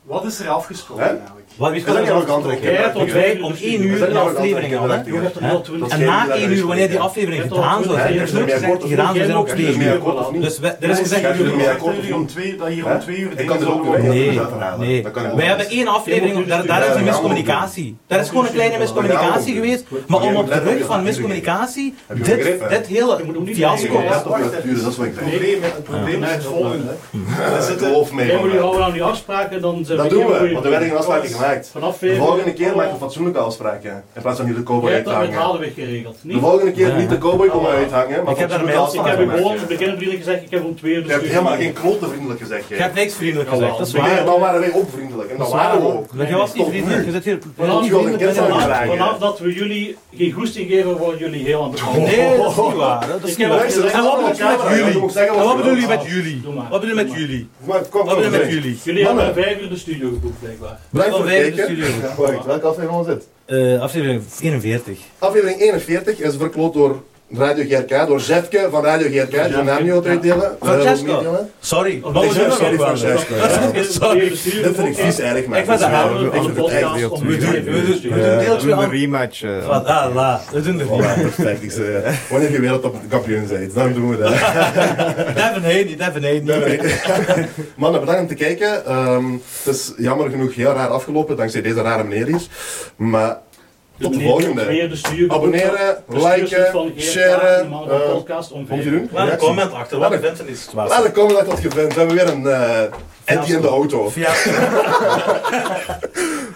Wat is er afgesproken
Hè?
eigenlijk?
Wat is
Is dat niet arroganter? dat jij
Jij
dat
hebt om
uitspreekt?
vijf
Wij
uur
om
de studio.
1 uur
Is dat
de
niet
aflevering
arrogant
al, hè?
dat
Je
jij
hebt
dat
er al twintig.
En na 1 uur, wanneer die aflevering gedaan zou zijn, er is nooit gezegd dat die gedaan zou zijn op 2
uitspreekt? Is meer
uur.
akkoord of niet?
Dus we- er is gezegd...
Gaat u
Jullie
ermee
zeggen
akkoord
dat
of
jullie om
niet?
twee, dat hier
Hè?
om twee uur
Ik kan er
dingen
ook
zouden
bij.
worden
Nee,
gezet.
nee.
Dat kan ik
Wij hebben één aflevering, daar, daar is een miscommunicatie. Daar is gewoon een kleine miscommunicatie geweest. Maar om op de rug van miscommunicatie, dit, dit hele fiasco...
Ja, wacht
Dat
even.
duurde, dat is wat ik
Het
denk.
probleem, het probleem is het volgende. Er zitten-
Geloof mij.
Jij moet je
man.
houden aan die afspraken, dan zijn
Dat
geen
doen we,
goeie
want er werden geen afspraken gemaakt.
Vanaf vijf
De
uur-
volgende keer maak ik een fatsoenlijke afspraken. In plaats van hier de
Jij
cowboy
hebt dat met
uithangen.
Hadeweg geregeld, niet?
De volgende keer niet de cowboy komen
Ja.
uithangen, maar
Ik heb daar
fatsoenlijke
mails-
Ik
afspraken
heb u gewoon in het
maken.
begin vriendelijk gezegd, ik heb om twee uur
Je
de
hebt
studio.
helemaal geen klote vriendelijk gezegd.
Je
jij.
hebt niks vriendelijk gezegd, dat is
Nee,
waar.
en dan waren wij ook vriendelijk. En dat waren we ook.
Maar jij was niet
Tot nu.
vriendelijk, je zit hier...
Vanaf,
Ik wil een kind
vanaf-
vragen.
vanaf dat we jullie geen goesting geven, worden jullie heel aan
Oh.
Nee, dat is niet waar. Dat is
Ik
niet
heb
waar.
ook gezegd,
En wat bedoel je met
Ja, je
jullie?
moet zeggen
En wat bedoel je
wil.
met jullie?
Doe maar.
Wat bedoel je met
Doe
jullie?
Maar kom,
Wat
kom,
bedoel je met
zeg.
jullie?
Jullie hebben om
Mannen.
vijf uur de studio geboekt, blijkbaar.
Blijf voor
Wat
het
wij in de
kijken.
studio?
Wacht, Welke aflevering was dit?
Eh, Aflevering 41.
Aflevering 41 is verkloot door Radio GRK, door Zefke van Radio GRK, die zijn naam niet wilt uitdelen. Eh, wil niet
Francesco.
delen.
Sorry,
Ik
wat
Ik
we doen
zeg
zeg
er
Oh, sorry
ook wel. hè.
Francesco. ja.
Sorry.
Dit vind ik vies eigenlijk, maar. dus
Ik was daar aan.
Ik vind het eigenlijk heel
We doen, we doen, we doen
Eh,
deeltje
doen een
aan-
rematch. eh.
Wat, ah, la, we doen er niet
Voilà,
aan.
perfect. Ik zei, eh, wanneer je wereldkampioen bent, dan doen we dat.
Devin Haney, Devin Haney.
Mannen, bedankt om te kijken. Ehm, het is jammer genoeg heel raar afgelopen, dankzij deze rare meneer hier. Maar tot de volgende.
Weer de studio geboekt.
Abonneren,
De studio
liken,
van GRK,
sharen,
de mannen van
eh,
podcast om
Komt
vijf
je
uur.
doen?
Laat een
Reactie?
comment achter, wat de vent in deze
Laat
situatie.
een comment achter wat je vindt. We hebben weer een eh Eddie in de auto.
Fiasco,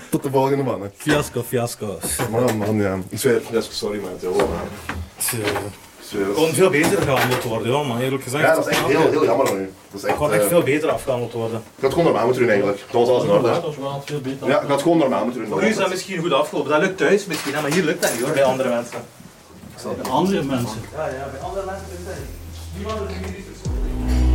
Tot de volgende mannen.
fiasco, fiasco.
Man, man, ja. Ik zweer, ja, sorry man, het is heel raar. Ik zweer.
Kon veel beter gehandeld worden, joh, man, eerlijk gezegd.
Ja, dat is echt heel, heel jammer van u. Dat is
Ik
echt,
had echt
eh,
veel beter afgehandeld worden.
Ik had gewoon normaal moeten doen eigenlijk. Dat was alles in orde.
Dat was wel veel beter.
Ja, ik had gewoon normaal moeten doen.
Voor u is dat misschien goed afgelopen. Dat lukt thuis misschien, hè, maar hier lukt dat niet hoor, bij andere mensen.
Andere mensen.
Ja, ja, bij andere mensen lukt dat niet. Niemand is een